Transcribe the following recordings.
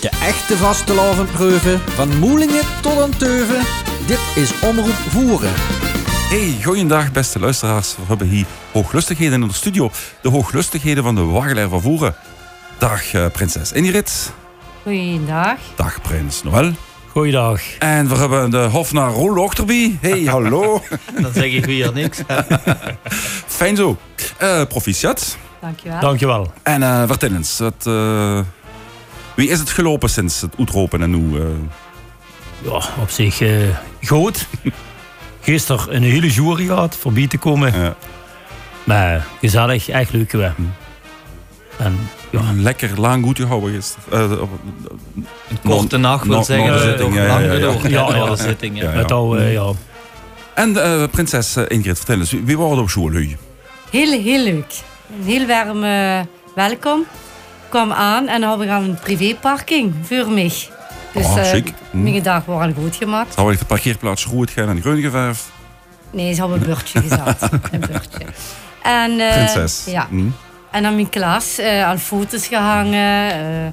De echte vastelovenproeven, van moelingen tot een teuven. Dit is Omroep Voeren. Hey, goeiedag beste luisteraars. We hebben hier hooglustigheden in de studio. De hooglustigheden van de Waggelaar van Voeren. Dag eh, prinses Ingrid. Goeiedag. Dag prins Noël. Goeiedag. En we hebben de hofnaar Roel Ochterby. Hey, hallo. Dan zeg ik weer niks. Fijn zo. Eh, proficiat. Dankjewel. Dankjewel. En eh, vertel eens, het, eh, wie is het gelopen sinds het uitropen en hoe? eh? Ja, op zich eh, goed. Gisteren een hele jury gehad voorbij te komen. Ja. Maar gezellig, echt leuk geweest. Hm. En ja, Lekker lang goed gehouden gisteren. Eh, op- Korte nacht wil non- zeggen. non- eh, zitting, toch ja, lang ja, ja. gedoogd, hè, Ja, ja. door de zitting, ja. Hm. Ja, met al, eh, ja. En eh, prinses eh, Ingrid, vertel eens, wie, wie waren er op school? Hui? Heel, heel leuk. Een heel warm eh, welkom. Ik kwam aan en hadden we gaan een privéparking voor mij. Dus Oh, eh, chic. Hm. mijn dag waren goed gemaakt. Zou ik de parkeerplaats Roet gaan en Groengeverf? Nee, ze hadden een beurtje gezet. een beurtje. En, eh, Prinses. Ja. Hm. En aan mijn klas eh, aan foto's gehangen. eh.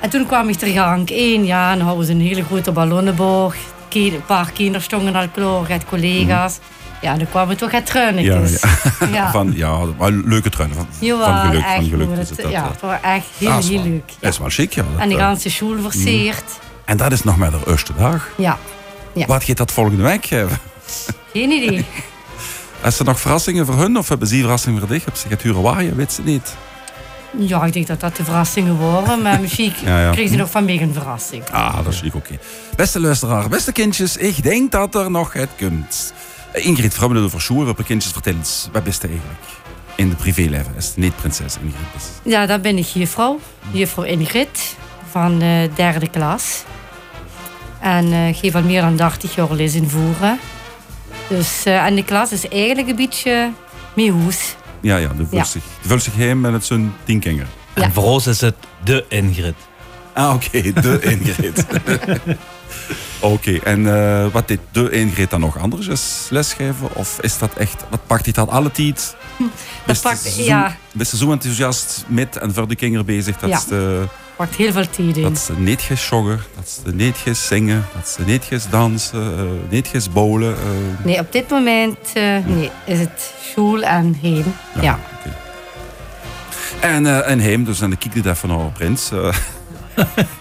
en toen kwam ik ter gang één. Ja, en hadden ze een hele grote ballonnenboog. Ki- Een paar kinderen stonden al klaar, het collega's. Ja, en dan kwamen toch het truinetjes. Mm. Ja, Ja. Van, ja, maar leuke trein. Van, van Jawel, geluk, echt van geluk hoor, is het het- dat. ja, eh. het was echt heel, Dat is heel wel- leuk. Dat is Ja. wel chic, ja. Mm. dat, En de eh. ganse school verseerd. en dat is nog maar de eerste dag. Ja, Ja. Wat gaat dat volgende week geven? geen idee. Is er nog verrassingen voor hun of hebben ze die verrassingen voor dich? Heb ze het huren waaien? Weet ze niet. Ja, ik denk dat dat de verrassingen waren, maar misschien Ja, Mm. ja. kreeg ze nog van mij een verrassing. Ah, dat is ik oké. Beste luisteraar, beste kindjes, ik denk dat er nog het komt. Eh, Ingrid, vrouw de Verschoer, op de kindjes vertel eens, wat is het eigenlijk? In de privéleven is het niet prinses Ingrid. Is. Ja, dan ben ik juffrouw, juffrouw Ingrid van de derde klas. En eh, geef al meer dan 80 jaar les in voeren. Dus, eh, en de klas is eigenlijk een beetje mee hoes. Ja, ja, de vult, Ja. Zich, de vult zich heen en het zijn tienkinger. Ja. En voor ons is het de Ingrid. Ah, oké, de Ingrid. oké, en eh, wat dit de Ingrid dan nog anders is, lesgeven? Of is dat echt, wat pakt hij dat alle tijd? Is pakt- ze zo- ja. Is ze zo enthousiast met en voor de kinderen bezig dat Ja. ze... de- Pakt heel veel tijd in. Dat ze niet ges joggen, dat ze niet ges zingen, dat ze niet ges dansen, eh, niet ges bowlen. eh. Nee, op dit moment eh, nee, is het school en heen. ja. oké. En, eh, en hem, dus dan kijk je daar van oh, prins. eh.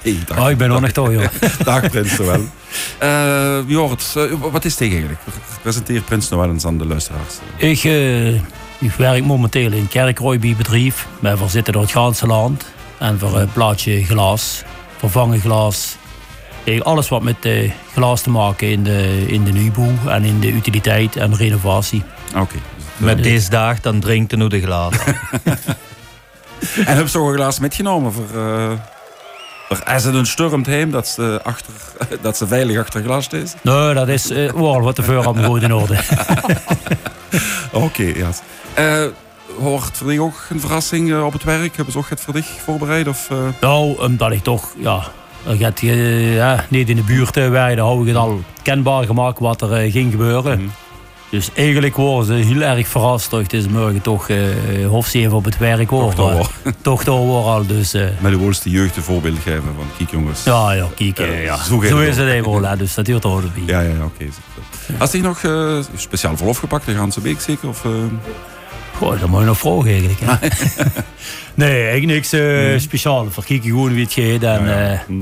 hey, dag, Ah, ik ben nog toch, joh. dag, prins Noël. Eh Jort, eh, wat is het eigenlijk? Presenteer prins Noël eens aan de luisteraars. Ik, eh, ik werk momenteel in kerkrooibedrijf. Maar we zitten door het ganse land. En voor een plaatje glas, vervangen glas. Tegen alles wat met eh, glas te maken in de, in de nieuwbouw en in de utiliteit en renovatie. Oké. dus, eh, Met deze dag, dan drinkt de nu de glazen. En heb ze ook een glaas metgenomen voor... eh voor als het een stormt heen, dat ze, achter, dat ze veilig achter glas is. Nou, dat is eh wel wat de voor allemaal goed in orde. Oké, ja. Eh, hoort voor jou ook een verrassing eh, op het werk? Hebben ze ook het voor dich voorbereid? Of, eh, Nou, omdat ik toch, ja, ik had, eh, ja, niet in de buurt eh, werken, dan hou ik het al kenbaar gemaakt wat er eh, ging gebeuren. Mhm. Dus eigenlijk waren ze heel erg verrast toch deze morgen toch eh half zeven op het werk hoor. toch wel. Toch toch hoor al, dus eh, Maar de woordste jeugd een voorbeeld geven van kijk jongens. ja, ja, kijk, eh, Eh, ja. zo zo gaat het is het even, hoor, hè, dus dat duurt ook een beetje. Ja, ja, ja, oké. Als die nog eh, speciaal verlof gepakt, dan gaan ze week zeker? Of, eh, Goh, dat moet je nog vragen eigenlijk. Hè. nee, eigenlijk niks eh speciaal. Verkijk je gewoon wie het gaat en ja, eh, hm,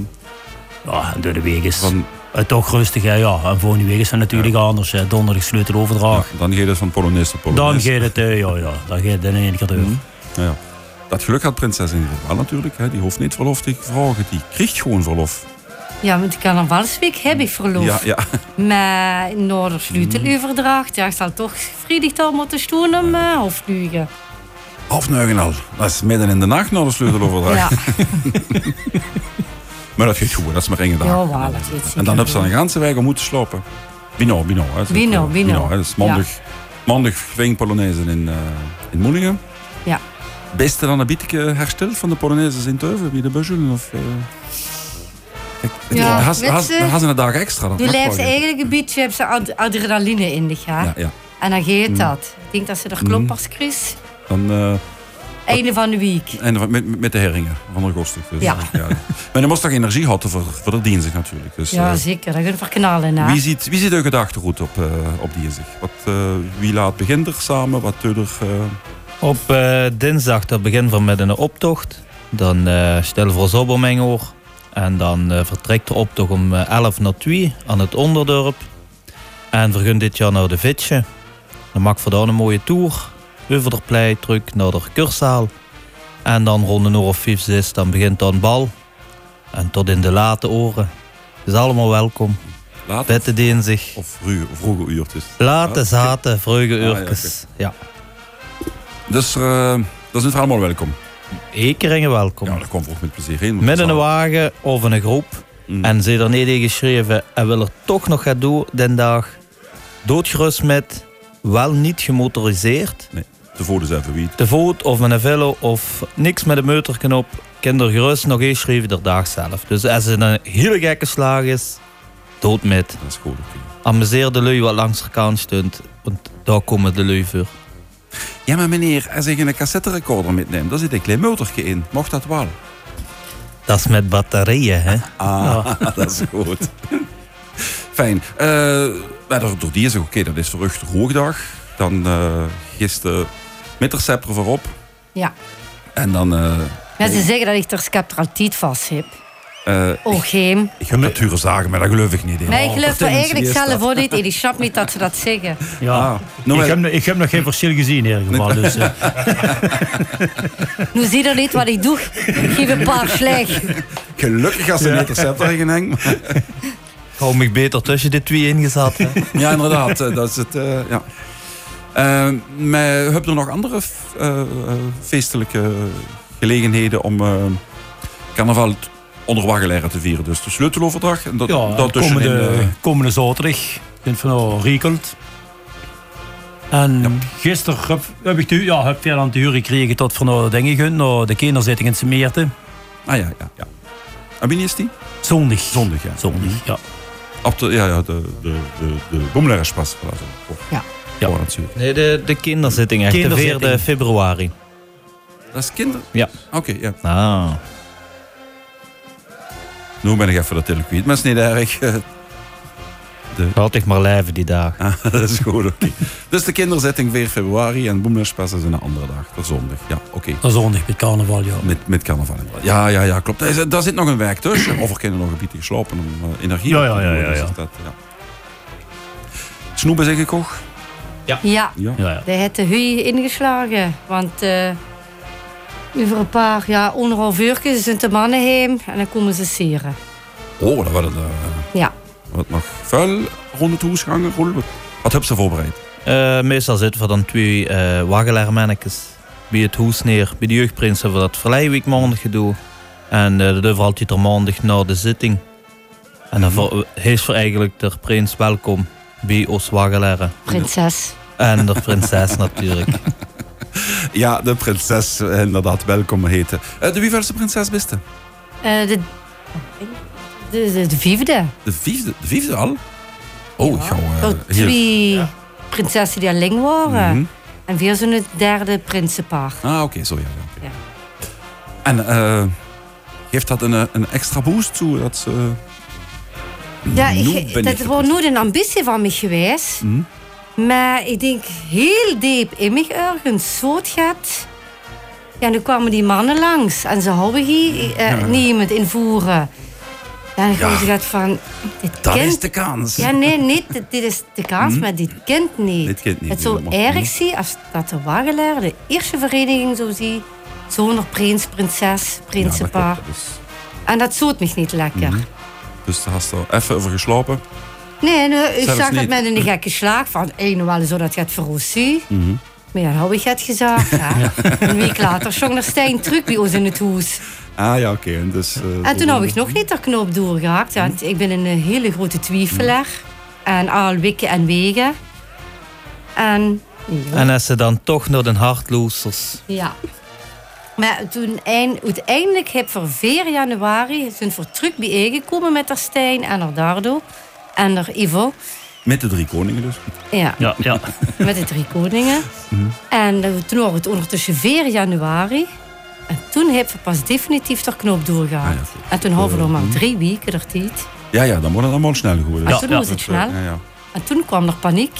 ja, en door de week is van, het toch rustig. Hè, ja. En volgende week is het natuurlijk anders. Hè. Donderdag sleuteloverdracht. ja, dan gaat het van polonaise tot Dan polonaise. gaat het, eh, ja, ja, dan gaat het in één keer door. Hm, ja, ja. Dat geluk had prinses in ieder geval natuurlijk. Hè. Die hoeft niet verlof te vragen. Die krijgt gewoon verlof. Ja, want de carnavalsweek heb ik verlof. Ja, Mm. ja. Maar na de sleuteloverdracht, ja, ik zal toch vrijdag dan moeten doen om eh, half negen. Half negen al. Dat is midden in de nacht na de sleuteloverdracht. Ja, Maar dat gaat goed, dat is maar één dag. ja waar, dat weet En dan heb ze een ganse weg om moeten slopen. Bino, Bino. Hè, Bino, Bino. hè. Dat is mondig, mondig ging Polonaise in, eh in Moelingen. Ja. Beste dan een beetje hersteld van de Polonaises in Teuven, bij de Buzzelen? Of, eh Ik, Ja, ja, has, weet has, ze- dan had ze een dag extra. Dat Nu mag lijkt ze wel, eigenlijk een beetje, heb ze ad- adrenaline in de gaar. ja. Mm. Ja, ja. En dan geeft dat. Ik denk dat ze er kloppers kreeg. Dan, eh, Einde van de week. En met, met de herringen van augustus. Dus, Ja. eh, Maar dan moest toch energie hadden voor, voor de dinsdag natuurlijk. Dus, Ja, eh, zeker. Dat gaat verknallen. hè. wie, ziet, wie ziet de gedachtegoed op, eh op dinsdag? Wat, eh, wie laat begint er samen? Wat doet er... eh, Op eh, dinsdag dat beginnen we met een optocht. Dan eh, stellen we ons op om Engoor. En dan eh, vertrekt de optocht om eh, 11 naar 2 aan het onderdorp. En we gaan dit jaar naar de Vitsje. Dan maken we daar een mooie tour. Over de plei terug naar de kurszaal. En dan rond een uur of 5, 6 dan begint dan bal. En tot in de late oren. Dus allemaal welkom. laat Bette dinsdag. Of vroege, of vroege uurtjes. Late Ah, zaten, vroege Ah, ja, uurtjes. Ja, Dus eh, dat is niet allemaal welkom. Ekeringen welkom. Ja, daar komt ook met plezier in. Met een wagen of een groep. Mm. En ze er niet in geschreven en wil er toch nog gaan doen den dag. Doodgerust met, wel niet gemotoriseerd. De voordeur is even wiet. Te voet of met een velo of niks met een motorknop. Kinder gerust nog eens schrijven de dag zelf. Dus als het een hele gekke slag is, dood met. Dat is goed. oké. Amuseer de lui wat langs de kant stond. Want daar komen de lui voor. Ja, maar meneer, als ik een cassette recorder metneem, daar zit een klein motortje in. Mocht dat wel? Dat is met batterijen, hè. Ah, dat is goed. Fijn. Eh maar door, door die is ook oké, dat is verrucht hoogdag. Dan eh gisteren met de scepter voorop. Ja. En dan... eh Mensen zeggen dat ik ter scepter altijd vast heb. eh, Oh, geen. ik ga natuurlijk zagen, maar dat geloof ik niet in. Nee, ik Oh, geloof er vertel eens, eigenlijk wie is zelf dat? ook niet in. Ik snap niet dat ze dat zeggen. Ja. Ah, nou, ik, eh, heb, ik heb nog geen verschil gezien in ieder geval. Dus, eh, Nu zie je niet wat ik doe. Ik geef een paar slecht. Gelukkig als ze een interceptor in hangt. Ik hou me beter tussen de twee ingezet, hè. Ja, inderdaad. eh, dat is het, eh, ja. Eh, maar heb je nog andere f- eh, eh, feestelijke gelegenheden om eh, carnaval t- onder waggelaren te vieren? Dus de sleuteloverdracht en dat, ja, dat en tussenin, komende, eh, komende zaterdag in Van nou Riekelt. En gisteren heb, heb ik de, hu- ja, heb veel aan te huur gekregen tot Van nou dingen gun. Nou, de kinderzitting in Semeerten. ah ja, ja. ja. En wanneer is die? Zondag. Zondag, ja. Mhm. Zondag, ja. Op de, ja, ja, de, de, de, de Boemlerrespas. Ja. Ja. Oh, natuurlijk. Nee, de, de kinderzitting echt, Kinderzitting. de 4 februari. Dat is kinder? Ja. Oké, ja. Ah. Nu ben ik even dat hele kwijt, maar het is niet erg. eh, Altijd maar leven die dag. Ah, dat is goed, oké. dus de kinderzetting 4 februari en Boemlerspas is een andere dag, dat is zondag. Ja, oké. Dat is zondag met carnaval, ja. Met, met carnaval. Ja, ja, ja, klopt. Daar, is- daar zit nog een werk tussen. Of er kunnen nog gebieden geslopen om eh, energie Ja, op te ja, ja, doen. ja, Dus ja. is Dat, ja. Snoepen zeg ik ook. Ja, Ja. Ja, ja. daar heeft de hui ingeslagen. Want eh over een paar, ja, anderhalf uurtjes zijn de mannen heen. En dan komen ze sieren. Oh, dat waren eh Ja. wat nog vuil rond het hoes hangen. rond- Wat, wat heb ze voorbereid? Eh, meestal zitten we dan twee eh wagelaarmannetjes bij het hoes neer. Bij de jeugdprins hebben we dat verleden week maandag gedaan. En eh, dat doen we altijd er maandag na de zitting. En dan voor- heet voor eigenlijk de prins welkom bij ons wagelaren. Prinses. En de prinses natuurlijk. Ja, de prinses eh, inderdaad welkom heten. Eh, de wievelste prinses beste? Eh, de, de, de, de vierde. De vijfde, de vijfde al? Oh, ik hou, eh, Door heel- twee prinsessen die alleen waren. Mhm. En weer zo'n het derde prinsenpaar. Ah, oké, zo ja. ja, oké. Ja. En eh, geeft dat een, eh, een extra boost toe? Dat ze, eh, Ja, nu ik, ben dat ik wordt nooit een ambitie van me geweest. Mhm. Maar ik denk heel diep in me ergens zoot gaat. Ja, nu kwamen die mannen langs en ze hadden hier eh, niemand invoeren. Ja, dan gaan Ja. ze gaat van, dit Dat is kind... de kans. Hm? Ja, nee, niet, dit- dit is de kans, maar dit kind niet. Dit kind niet, Het zou helemaal. erg Mhm. zien als dat de wagelaar de eerste vereniging zou zien. Zonder prins, prinses, Ja, dat klopt, prinsenpaar. dat is- en dat zoot me niet lekker. dus daar had er even over geslopen. Nee, nee ik Zelfs zag niet. dat met een gekke slaag van één wel zo dat gaat voor ons zien. Mhm. Maar ja, dan had ik het gezegd. Ja. Een week later zong er Stijn terug bij ons in het hoes. Ah ja, oké. en dus, eh, En toen had ik nog niet de knoop doorgehaakt. Want ik ben een eh, hele grote twijfelaar. En al wikken en wegen. En ja. en als ze dan toch naar de hardloosers. ja. Maar toen eind- uiteindelijk heb ik voor 4 januari zijn voor terug bijeengekomen met haar Stijn en haar Dardo en haar Ivo. Met de drie koningen dus. Ja, Ja, ja. met de drie koningen. Mhm. En eh, toen hadden we het ondertussen 4 januari. En toen hebben we pas definitief de knoop doorgehaald. Ah, ja, goed. en toen hadden we nog maar drie weken er tijd. Ja, ja, dan wordt het allemaal sneller geworden. En Ja, toen ja, moest Oh, het Dat, eh, snel. Ja, ja. En toen kwam er paniek.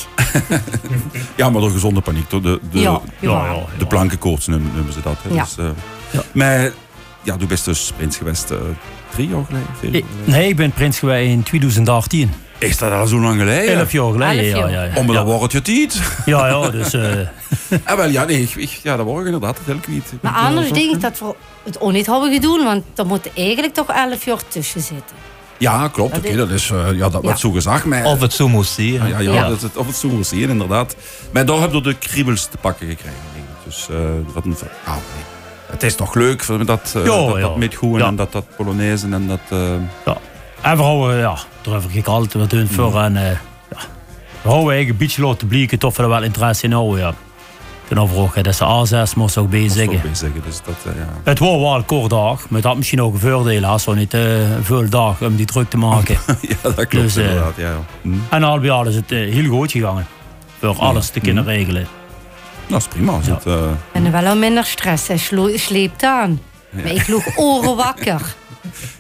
ja, maar door gezonde paniek. Door de, de, ja, ja, jawel. ja. De plankenkoorts noemen, noemen ze dat. Hè. Ja. Dus, eh, Ja. Maar ja, doe best dus Prins geweest eh, drie jaar geleden. vier jaar Ik- geleden. Nee, ik ben prins geweest in 2018. Is dat al zo lang geleden? Elf jaar geleden, Elf ja, jaar. ja, ja. Om dat ja. wordt je tijd. Ja, ja, dus... eh, Ah, wel, ja, nee, ik, ik- ja, dat wordt inderdaad, dat helpt niet. Ik Maar ben- anders eh, denk ik dat we het ook niet hadden gedaan. Want er moet eigenlijk toch 11 jaar tussen zitten. Ja, klopt. Dat Oké, is- dat is eh, ja, dat Ja. wordt zo gezag. Maar, Of het zo moest zien. ja, ja, ja, Ja. Dat, het- of het zo gezien, inderdaad. Maar daar hebben we de kriebels te pakken gekregen. Denk ik. Dus eh, wat een... ver- Ah, nee. Het is toch leuk dat, eh, dat, dat, ja. dat Midgoen Ja. en dat, dat Polonaise en dat... eh, En we houden, ja, daar heb ik altijd wat doen voor. En, eh, ja. We houden eigen beetje laten blijken toch we er wel interesse in houden, ja. Ten overige, dat is de A6, moest ook bij zeggen. wat wil ik zeggen. Dus dat, eh, ja. Het was wel een kort dag, maar dat had misschien ook een voordeel. Als we niet eh, veel dag om die druk te maken. ja, dat klopt Dus, eh, inderdaad. Ja, ja. Hm. en al bij al is het eh, heel goed gegaan. Voor alles te kunnen regelen. Dat is prima. Als Ja. het, eh, En wel al minder stress. Hij slo- sleept aan. Maar ik loog oren wakker.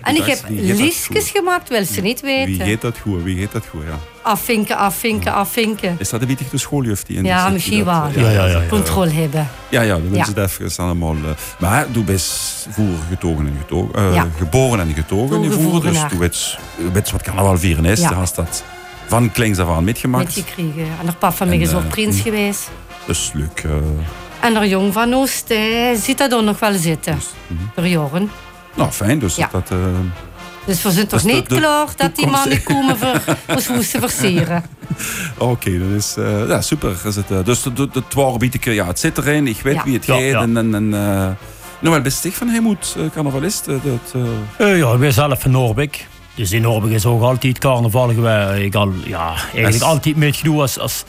En ik Dat heb is- die- die- dat is liesjes goed. gemaakt, wil ze niet Wie weten. geeft dat goed? Wie geeft dat goed, ja. Afvinken, afvinken, afvinken. Is dat de wietige schooljuff die in Ja, zit die misschien dat, eh, wel. Ja, ja, ja, ja. Controle hebben. Ja, ja, de mensen Ja. daar staan allemaal. eh, maar doe best voer getogen en getogen. eh, Ja. Geboren en getogen. Die Geboren voeren dus. voerenaar. Doe best, best wat carnaval vieren is. Ja. Daar is dat van klings af aan Met metgemaakt. die kriegen. En haar papa van mij En, is ook eh, prins hm. geweest. Dus leuk. eh, En haar jong van Oost eh, ziet dat dan nog wel zitten. dus, mhm. Door Joren. Nou, fijn. Dus Ja. dat. eh, Dus we zijn toch Dus de- niet de klaar dat die toekomst- mannen komen voor ons hoesten versieren. Oké, dat is eh, ja, super. Is het, eh, dus de, de, de twaalf bied ik, eh, ja, het zit erin. Ik weet Ja. wie het Ja, gaat. ja. En, en, en eh, nou, wel best ik van Helmoet, eh, carnavalist. eh, dat, eh, Eh, ja, ik ben zelf van Norbik. Dus in Norbik is ook altijd carnaval geweest. Eh, Ik al, ja, eigenlijk Yes. altijd meegedoe als, als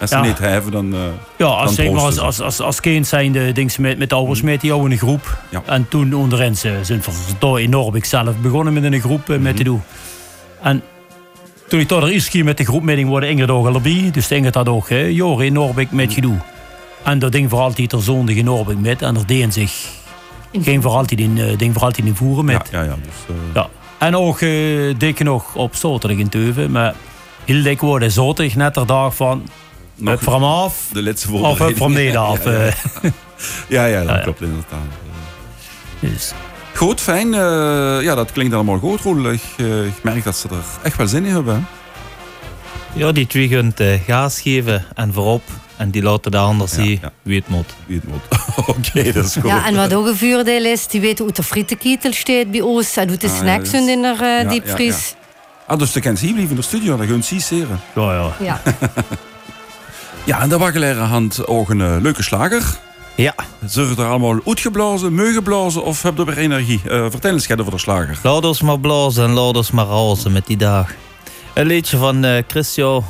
als ze Ja. niet hebben, dan. eh, Ja, als, Dan zeg maar, als, proosten als, als, als kind zijn de dingen met, met de ouders, met die oude groep. Mm. Ja. En toen onderin ze- zijn we door in Norbik zelf begonnen met een groep eh, Mhm. met te doen. En toen ik daar eerst keer met de groepmeeting worden Ingrid ook al erbij. Dus Ingrid had ook hè, Jor in Norbik Mm. met gedoe. En dat ding voor altijd er zondag in Norbik met. En er deden zich. Ging voor altijd in, eh, ding voor altijd in voeren met. Ja, ja, ja. Dus, eh, Ja. En ook eh dik nog op zaterdag in Teuven. Maar heel dik worden zaterdag net de dag van. nog Hup van hem af. de laatste Of hup voorbereiding. van beneden af. Ja, ja, ja. Ja, eh. ja, dat Ja, ja. klopt inderdaad. Dus, Goed, fijn. Eh, ja, dat klinkt allemaal goed, Roel. Ik, eh, ik merk dat ze er echt wel zin in hebben. hè. Ja, die twee kunt eh, gaas geven en voorop. En die laten de ander Ja, zien ja. wie het moet. Wie het moet. Oké, dat is goed. Ja, en wat ook een voordeel is, die weten hoe de frietenketel staat bij ons. En hoe de Ah, ja, snacks dat zijn is- in haar eh, ja, diepvries. Ah, dus de kent hier blijven in de studio. Dan gaan ze seren. ja, ja. Ja, Ja, en de waggelaire hand ook een eh, leuke slager. Ja, Zullen er allemaal uitgeblazen, meugenblazen of heb je weer energie? Eh vertel eens, Gerda, voor de slager. laat ons maar blazen en laat ons maar rozen met die dag. Een liedje van eh Christian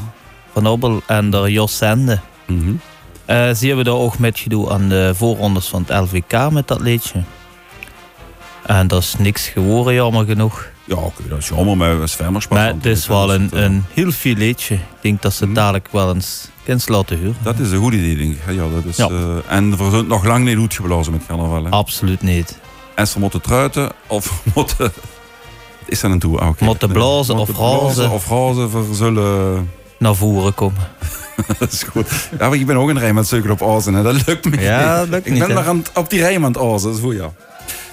van Obbel en de Jos Sende. Mhm. Eh, ze hebben daar ook metgedoe aan de voorrondes van het LVK met dat liedje. En dat is niks geworden, jammer genoeg. Ja, oké, dat is jammer, maar dat is vermerspas. maar het is wel een, eh, een heel veel liedje. Ik denk dat ze Hmm. dadelijk wel eens kunst laten huren. Dat is een goed idee, denk ik. Ja, dat is, Ja. Ah. eh, en we zijn nog lang niet uitgeblazen met carnaval. hè. Absoluut niet. En ze moeten truiten of moeten... Is dat een toe? Ah, oké. Moeten blazen Moeten of razen. Of razen, we zullen... Naar voren komen. Dat is goed. Ja, maar ik ben ook een Rijnmond sukkel op azen. Hè. Dat lukt me Ja, dat niet. lukt ik niet, ben hè. maar aan het- op die Rijnmond azen, dat is goed, ja.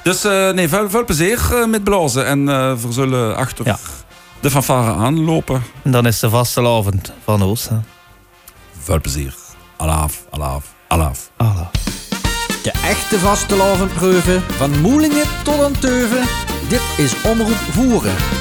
Dus eh, nee, veel, veel plezier eh, met blazen. En eh, we zullen achter Ja. de fanfare aanlopen. En dan is de vaste avond van Oosten. Veel plezier. Alaaf, alaaf, alaaf. Allah. De echte vastelavondpreuven van Moelingen tot aan Teuven. Dit is Omroep Voeren.